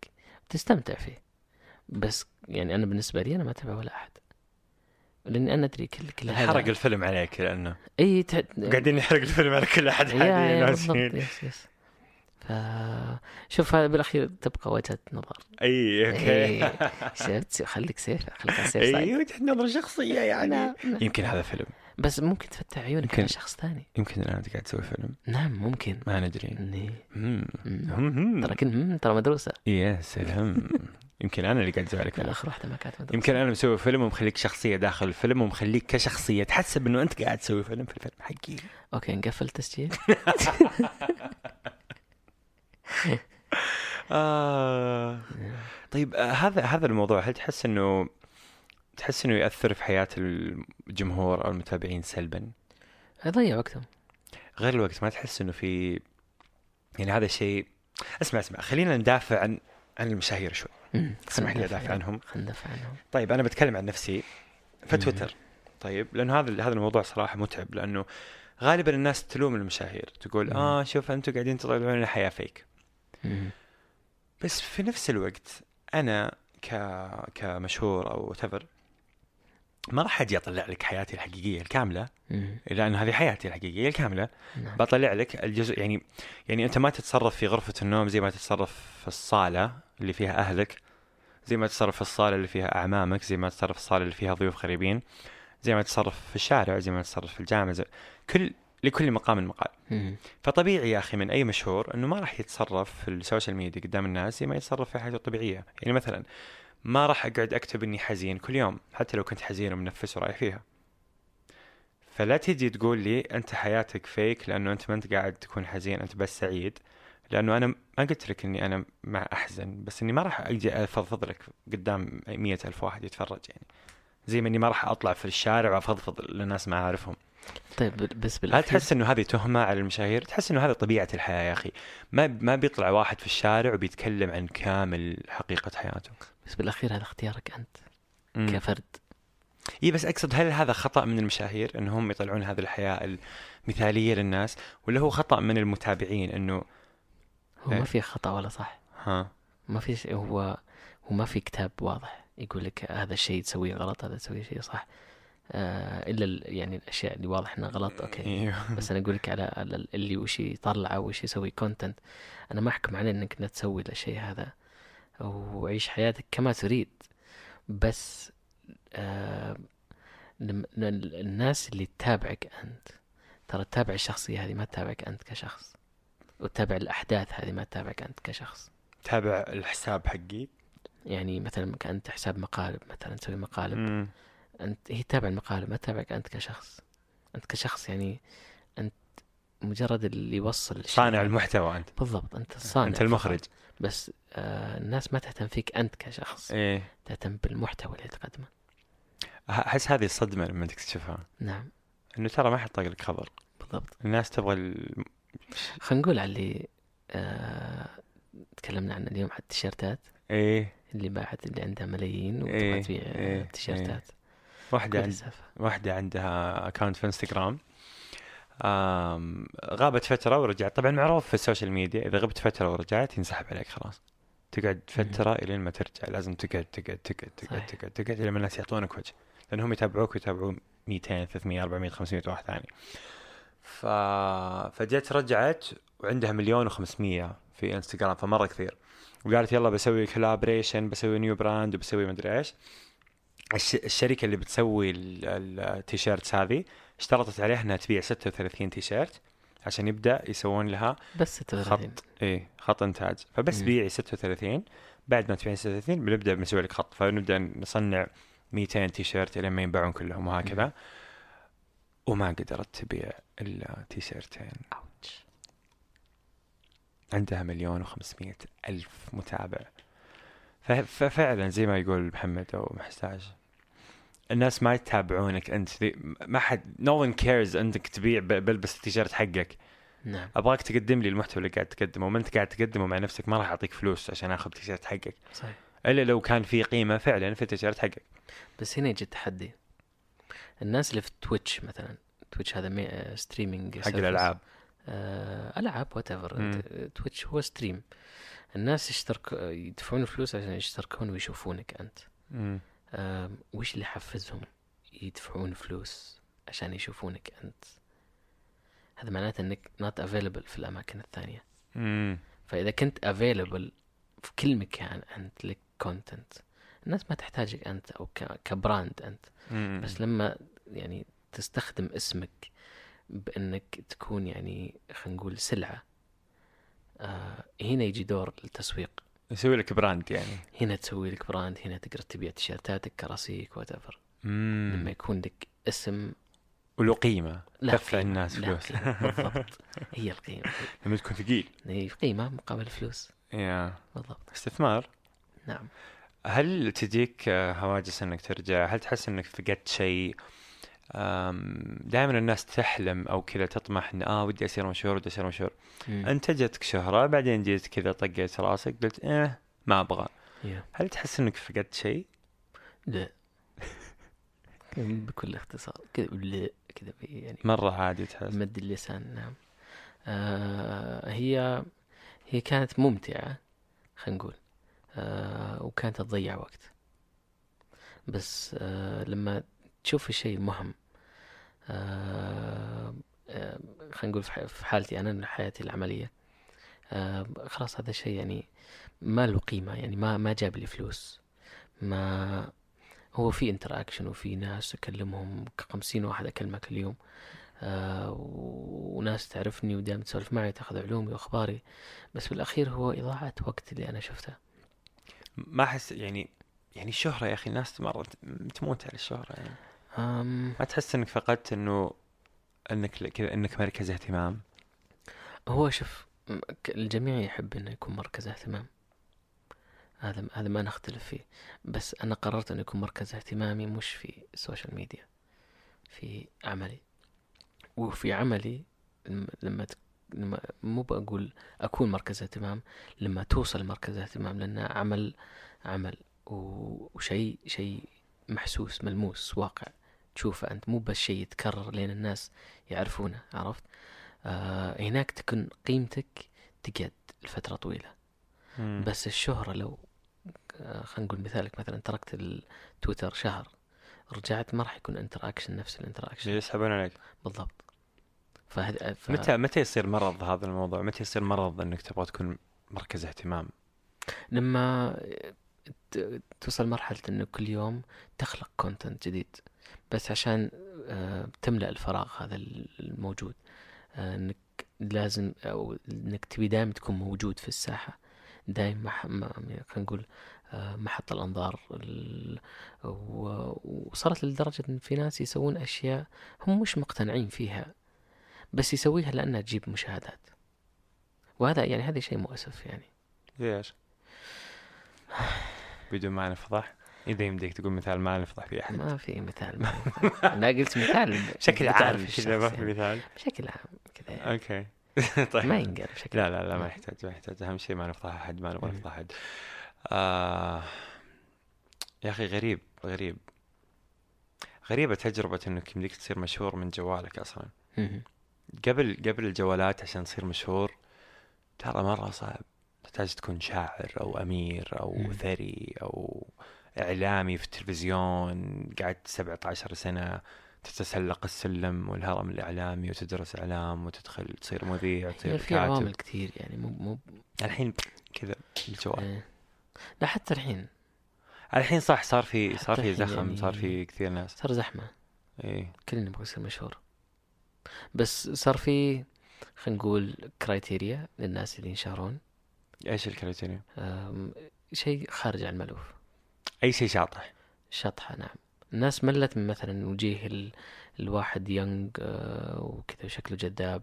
S2: بتستمتع فيه بس يعني أنا بالنسبة لي أنا ما أتابع ولا أحد لأني أنا أدري كل كل هذا
S1: حرق الفيلم عليك لانه
S2: اي تع-
S1: قاعدين نحرق الفيلم على كل احد
S2: يا- يا بالضبط،
S1: حاليا
S2: يس يس ف شوف هذا بالاخير تبقى وجهه نظر
S1: اي اوكي
S2: إيه، شفت خليك سيف خليك على السيف
S1: اي
S2: سايد.
S1: وجهه إيه، نظر شخصيه يعني
S2: نعم، نعم.
S1: يمكن هذا فيلم
S2: بس ممكن تفتح عيونك
S1: يمكن.
S2: على شخص ثاني
S1: يمكن الان انت قاعد تسوي فيلم
S2: نعم ممكن
S1: ما ندري
S2: إني-
S1: مم.
S2: مم.
S1: هم هم.
S2: ترى كن مم، ترى مدروسه
S1: يا سلام يمكن انا اللي قاعد اسوي عليك
S2: لا،
S1: فيلم
S2: اخر واحده ما كانت مدروسه
S1: يمكن انا مسوي فيلم ومخليك شخصيه داخل الفيلم ومخليك كشخصيه تحسب انه انت قاعد تسوي فيلم في الفيلم حقي
S2: اوكي نقفل التسجيل
S1: آه. طيب آه، هذا هذا الموضوع هل تحس انه تحس انه ياثر في حياه الجمهور او المتابعين سلبا؟
S2: يضيع وقتهم
S1: غير الوقت ما تحس انه في يعني هذا الشيء اسمع اسمع خلينا ندافع عن عن المشاهير شوي
S2: مم،
S1: اسمح لي
S2: خلنا ندافع
S1: ادافع عنهم
S2: خلنا ندافع عنهم
S1: طيب انا بتكلم عن نفسي في
S2: مم.
S1: تويتر طيب لانه هذا هذا الموضوع صراحه متعب لانه غالبا الناس تلوم المشاهير تقول
S2: مم.
S1: اه شوف انتم قاعدين تطلعون لنا حياه فيك
S2: مم،
S1: بس في نفس الوقت انا ك كمشهور او تفر ما راح اجي اطلع لك حياتي الحقيقيه الكامله
S2: مم،
S1: لان هذه حياتي الحقيقيه الكامله
S2: نعم.
S1: بطلع لك الجزء يعني يعني انت ما تتصرف في غرفه النوم زي ما تتصرف في الصاله اللي فيها اهلك زي ما تتصرف في الصاله اللي فيها اعمامك زي ما تتصرف في الصاله اللي فيها ضيوف غريبين زي ما تتصرف في الشارع زي ما تتصرف في الجامعه زي كل لكل مقام مقال
S2: مم،
S1: فطبيعي يا اخي من اي مشهور انه ما راح يتصرف في السوشيال ميديا قدام الناس زي ما يتصرف في حياته الطبيعيه يعني مثلا ما راح اقعد اكتب اني حزين كل يوم حتى لو كنت حزين ومنفس ورايح فيها فلا تجي تقول لي انت حياتك فيك لانه انت ما انت قاعد تكون حزين انت بس سعيد لانه انا ما قلت لك اني انا مع احزن بس اني ما راح اجي افضفض لك قدام مية ألف واحد يتفرج يعني زي ما اني ما راح اطلع في الشارع وافضفض للناس ما اعرفهم
S2: طيب بس
S1: هل
S2: بالاخير
S1: تحس انه هذه تهمه على المشاهير؟ تحس انه هذا طبيعه الحياه يا اخي، ما ما بيطلع واحد في الشارع وبيتكلم عن كامل حقيقه حياته.
S2: بس بالاخير هذا اختيارك انت
S1: كيف؟
S2: كفرد
S1: اي بس اقصد هل هذا خطا من المشاهير ان هم يطلعون هذه الحياه المثاليه للناس ولا هو خطا من المتابعين انه
S2: هو
S1: إيه.
S2: ما في خطا ولا صح
S1: ها
S2: ما في شيء هو وما في كتاب واضح يقول لك هذا الشيء تسويه غلط هذا تسويه شيء صح آه الا ال- يعني الاشياء اللي واضح انها غلط اوكي
S1: ايوه
S2: بس انا اقول لك على على ال- اللي وش يطلعه وش يسوي كونتنت انا ما احكم عليه انك لا تسوي الشيء هذا وعيش حياتك كما تريد بس آه لم- ل- ال- الناس اللي تتابعك انت ترى تتابع الشخصيه هذه ما تتابعك انت كشخص وتتابع الاحداث هذه ما تتابعك انت كشخص
S1: تابع الحساب حقي
S2: يعني مثلا انت حساب مقالب مثلا تسوي مقالب
S1: مم.
S2: انت هي تتابع المقالب ما تتابعك انت كشخص انت كشخص يعني انت مجرد اللي يوصل الشيء.
S1: صانع المحتوى انت
S2: بالضبط انت الصانع
S1: انت المخرج
S2: فقط. بس آه الناس ما تهتم فيك انت كشخص
S1: ايه
S2: تهتم بالمحتوى اللي تقدمه
S1: احس هذه الصدمه لما تكتشفها
S2: نعم
S1: انه ترى ما حد طاق لك خبر
S2: بالضبط
S1: الناس تبغى ال...
S2: خلينا نقول على اللي آه تكلمنا عنه اليوم على التيشيرتات
S1: ايه
S2: اللي باعت اللي عندها ملايين
S1: إيه،
S2: وتبغى تبيع
S1: إيه،
S2: آه، تيشيرتات
S1: واحده
S2: كل
S1: عند...
S2: السالفة.
S1: واحده عندها اكونت في انستغرام آم... غابت فتره ورجعت طبعا معروف في السوشيال ميديا اذا غبت فتره ورجعت ينسحب عليك خلاص تقعد فتره الين ما ترجع لازم تقعد تقعد تقعد تقعد
S2: صحيح.
S1: تقعد تقعد الين ما الناس يعطونك وجه لانهم يتابعوك ويتابعون 200 300 400 500 واحد ثاني ف... فجت رجعت وعندها مليون و500 في انستغرام فمره كثير وقالت يلا بسوي كولابريشن بسوي نيو براند وبسوي مدري ايش الش... الشركه اللي بتسوي ال- ال- التيشيرتس هذه اشترطت عليها انها تبيع 36 تيشيرت عشان يبدا يسوون لها
S2: بس 36
S1: خط اي إيه، خط انتاج فبس
S2: مم.
S1: بيعي 36 بعد ما تبيعي 36 بنبدا بنسوي لك خط فنبدا نصنع 200 تيشيرت لين ما ينباعون كلهم وهكذا وما قدرت تبيع الا تيشيرتين
S2: اوتش
S1: عندها مليون و500 الف متابع ف- ففعلا زي ما يقول محمد او محتاج الناس ما يتابعونك انت ذي- ما حد نو ون كيرز انك تبيع ب- بلبس التيشيرت حقك
S2: نعم
S1: ابغاك تقدم لي المحتوى اللي قاعد تقدمه وما انت قاعد تقدمه مع نفسك ما راح اعطيك فلوس عشان اخذ تيشيرت حقك
S2: صحيح
S1: الا لو كان في قيمه فعلا في التيشيرت حقك
S2: بس هنا يجي التحدي الناس اللي في تويتش مثلا تويتش هذا مي... آه، ستريمينج
S1: حق
S2: سيرفيس.
S1: الالعاب
S2: آه... العاب وات
S1: مم.
S2: ايفر تويتش هو ستريم الناس يشترك آه، يدفعون فلوس عشان يشتركون ويشوفونك انت
S1: مم.
S2: آه... وش اللي يحفزهم يدفعون فلوس عشان يشوفونك انت هذا معناته انك نوت افيلبل في الاماكن الثانيه
S1: مم.
S2: فاذا كنت افيلبل في كل مكان انت لك كونتنت الناس ما تحتاجك انت او ك... كبراند انت
S1: مم.
S2: بس لما يعني تستخدم اسمك بانك تكون يعني خلينا نقول سلعه آه هنا يجي دور التسويق
S1: يسوي لك براند يعني
S2: هنا تسوي لك براند هنا تقدر تبيع تيشيرتاتك كراسيك وات ايفر
S1: مم.
S2: لما يكون لك اسم
S1: وله قيمه
S2: له
S1: دفع
S2: قيمة،
S1: الناس
S2: له
S1: فلوس
S2: قيمة، بالضبط هي القيمه
S1: لما تكون ثقيل
S2: هي قيمه مقابل فلوس
S1: يا
S2: بالضبط
S1: استثمار
S2: نعم
S1: هل تجيك آه، هواجس انك ترجع؟ هل تحس انك فقدت شيء؟ دائما الناس تحلم او كذا تطمح ان اه ودي اصير مشهور ودي اصير مشهور،
S2: مم.
S1: انت جتك شهرة بعدين جيت كذا طقيت راسك قلت ايه ما ابغى،
S2: يا.
S1: هل تحس انك فقدت شيء؟
S2: لا بكل اختصار كذا لا كذا يعني
S1: مرة عادي تحس
S2: مد اللسان نعم آه هي هي كانت ممتعة خلينا نقول آه وكانت تضيع وقت بس آه لما تشوف الشيء مهم آه آه خلينا نقول في ح- في حالتي أنا حياتي العملية آه خلاص هذا الشيء يعني ما له قيمة يعني ما ما جاب لي فلوس ما هو في انتراكشن وفي ناس أكلمهم خمسين واحد أكلمك اليوم آه، وناس تعرفني ودائما تسولف معي وتاخذ علومي واخباري بس بالاخير هو اضاعه وقت اللي انا شفته
S1: ما احس يعني يعني الشهرة يا اخي الناس مرة ت- تموت على الشهرة يعني
S2: أم
S1: ما تحس انك فقدت انه انك ل- كذا انك مركز اهتمام؟
S2: هو شوف م- ك- الجميع يحب انه يكون مركز اهتمام هذا هذا ما نختلف فيه بس انا قررت انه يكون مركز اهتمامي مش في السوشيال ميديا في عملي وفي عملي لم- لما ت- لما مو بقول اكون مركز اهتمام لما توصل مركز اهتمام لان عمل عمل و- وشيء شيء محسوس ملموس واقع تشوفه انت مو بس شيء يتكرر لين الناس يعرفونه عرفت آه هناك تكون قيمتك تقعد لفتره طويله
S1: مم.
S2: بس الشهرة لو آه، خلينا نقول مثالك مثلا تركت التويتر شهر رجعت ما راح يكون انتراكشن نفس الانتراكشن
S1: يسحبون عليك
S2: بالضبط فهذا ف...
S1: إيه. متى متى يصير مرض هذا الموضوع؟ متى يصير مرض انك تبغى تكون مركز اهتمام؟
S2: لما ت- توصل مرحلة انه كل يوم تخلق كونتنت جديد بس عشان آه، تملأ الفراغ هذا الموجود آه، انك لازم او انك تبي دائما تكون موجود في الساحة دائما مح... ما- خلينا نقول آه، محط الانظار ال... و... وصلت لدرجة ان في ناس يسوون اشياء هم مش مقتنعين فيها بس يسويها لانها تجيب مشاهدات وهذا يعني هذا شيء مؤسف يعني
S1: ليش؟ بدون ما نفضح اذا يمديك تقول مثال ما نفضح في احد
S2: ما آه، في مثال ما في مثال. انا قلت مثال
S1: بشكل
S2: بتعرف
S1: عام
S2: الشخص
S1: كذا ما في
S2: يعني.
S1: مثال
S2: بشكل عام كذا يعني.
S1: اوكي طيب
S2: ما ينقال بشكل
S1: لا لا لا ما يحتاج ما يحتاج اهم شيء ما نفضح احد ما نبغى
S2: مم.
S1: نفضح احد آه يا اخي غريب غريب غريبة تجربة انك يمديك تصير مشهور من جوالك اصلا
S2: مهم.
S1: قبل قبل الجوالات عشان تصير مشهور ترى مرة صعب تحتاج تكون شاعر او امير او
S2: مم.
S1: ثري او اعلامي في التلفزيون قعدت 17 سنة تتسلق السلم والهرم الاعلامي وتدرس اعلام وتدخل تصير مذيع
S2: يعني
S1: تصير
S2: في
S1: كاتب
S2: عوامل كثير يعني مو مو
S1: الحين كذا الجوال
S2: آه. لا حتى الحين
S1: الحين صح صار في
S2: حتى
S1: صار في
S2: الحين
S1: زخم
S2: يعني-
S1: صار في كثير ناس إيه.
S2: صار زحمه
S1: اي
S2: كلنا نبغى نصير مشهور بس صار في خلينا نقول كرايتيريا للناس اللي ينشهرون
S1: ايش الكريتيريا؟
S2: أم، شيء خارج عن المألوف
S1: اي شيء شاطح
S2: شطحة نعم الناس ملت من مثلا وجيه ال... الواحد يونغ وكذا شكله جذاب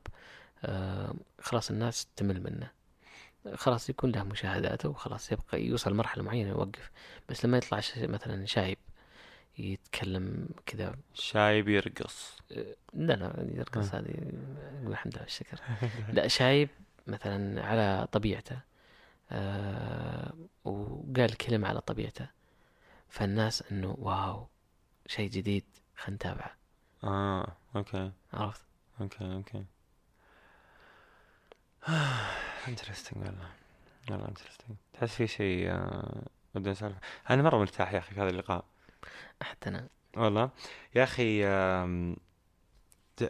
S2: أم، خلاص الناس تمل منه خلاص يكون له مشاهداته وخلاص يبقى يوصل مرحلة معينة يوقف بس لما يطلع ش... مثلا شايب يتكلم كذا
S1: شايب يرقص
S2: لا لا يرقص هذه نقول الحمد لله والشكر لا شايب مثلا على طبيعته آه وقال كلمة على طبيعته فالناس انه واو شيء جديد خلينا نتابعه
S1: اه اوكي
S2: عرفت؟
S1: اوكي اوكي انترستنج والله والله انترستنج تحس في شيء آه، بدنا نسولف انا مره مرتاح يا اخي في هذا اللقاء
S2: حتى انا
S1: والله يا اخي آم، د-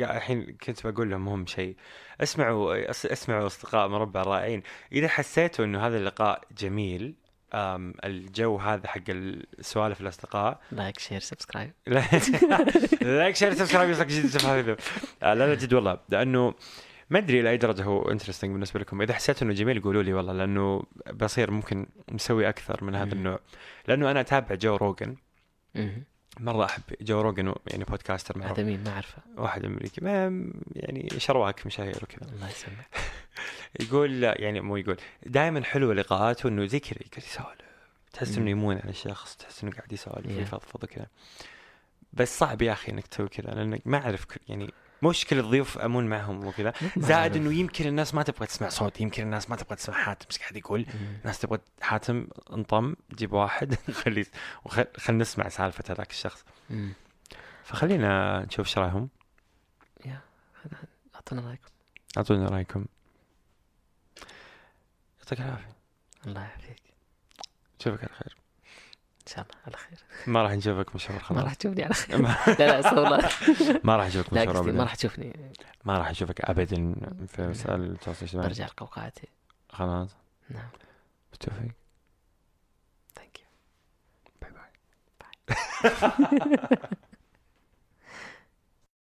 S1: قاعد الحين كنت بقول لهم هم شيء اسمعوا أس- اسمعوا اصدقاء مربع رائعين اذا حسيتوا انه هذا اللقاء جميل آم، الجو هذا حق السوالف الاصدقاء
S2: لايك شير سبسكرايب
S1: لا لايك شير سبسكرايب يصلك جديد في هذا الفيديو. آه، لا لا جد والله لانه ما ادري لاي درجه هو انترستنج بالنسبه لكم اذا حسيتوا انه جميل قولوا لي والله لانه بصير ممكن مسوي اكثر من هذا
S2: مم.
S1: النوع لانه انا اتابع جو روجن
S2: مهم.
S1: مره احب جو روجن يعني بودكاستر معروف
S2: هذا مين ما اعرفه
S1: واحد امريكي ما يعني شرواك مشاهير وكذا
S2: الله يسلمك
S1: يقول يعني مو يقول دائما حلوه لقاءاته انه زي كذا يقعد يسولف تحس
S2: مم.
S1: انه يمون على الشخص تحس انه قاعد يسولف
S2: Yeah.
S1: ويفضفض وكذا بس صعب يا اخي انك تسوي كذا لانك ما اعرف كل- يعني مش كل الضيوف امون معهم وكذا زائد انه يمكن الناس ما تبغى تسمع صوت يمكن الناس ما تبغى تسمع حاتم ايش قاعد يقول
S2: مم.
S1: الناس تبغى حاتم انطم جيب واحد خلي وخل- خلينا نسمع سالفه هذاك الشخص
S2: مم.
S1: فخلينا نشوف ايش رايهم
S2: اعطونا رايكم
S1: اعطونا رايكم يعطيك العافيه
S2: الله يعافيك
S1: نشوفك على خير
S2: ان شاء الله على خير
S1: ما راح نشوفك مشهور
S2: ما
S1: خلاص
S2: راح تشوفني على خير لا لا استغفر الله
S1: ما راح نشوفك
S2: لا
S1: مشهور
S2: قصدي ما
S1: ابدا
S2: راح تشوفني
S1: ما راح اشوفك ابدا في مسائل التواصل الاجتماعي
S2: برجع لقوقعتي
S1: خلاص
S2: نعم
S1: بالتوفيق
S2: ثانك يو
S1: باي باي